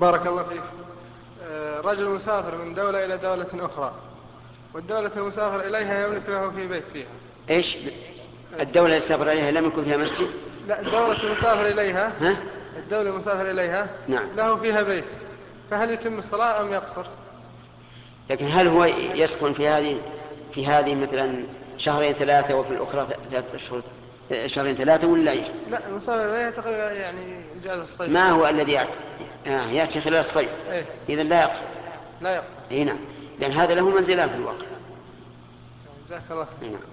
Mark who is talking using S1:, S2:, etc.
S1: بارك الله فيك آه، رجل مسافر من دولة إلى دولة أخرى والدولة المسافر إليها يملك له في بيت فيها
S2: ايش الدولة اللي سافر عليها لم يكن فيها مسجد
S1: لا الدولة المسافر إليها
S2: ها
S1: الدولة المسافر إليها
S2: نعم.
S1: له فيها بيت فهل يتم الصلاة أم يقصر؟
S2: لكن هل هو يسكن في هذه في هذه مثلا شهرين ثلاثة وفي الأخرى ث- ثلاثة أشهر آه، شهرين ثلاثة ولا إيش؟
S1: لا المسافر إليها تقريبا يعني إجازة الصيف
S2: ما هو الذي يأتي؟ آه يأتي خلال الصيف
S1: إيه
S2: إذا لا يقصر
S1: لا يقصر
S2: أي نعم لأن هذا له منزلان في الواقع
S1: جزاك الله خير
S2: أي نعم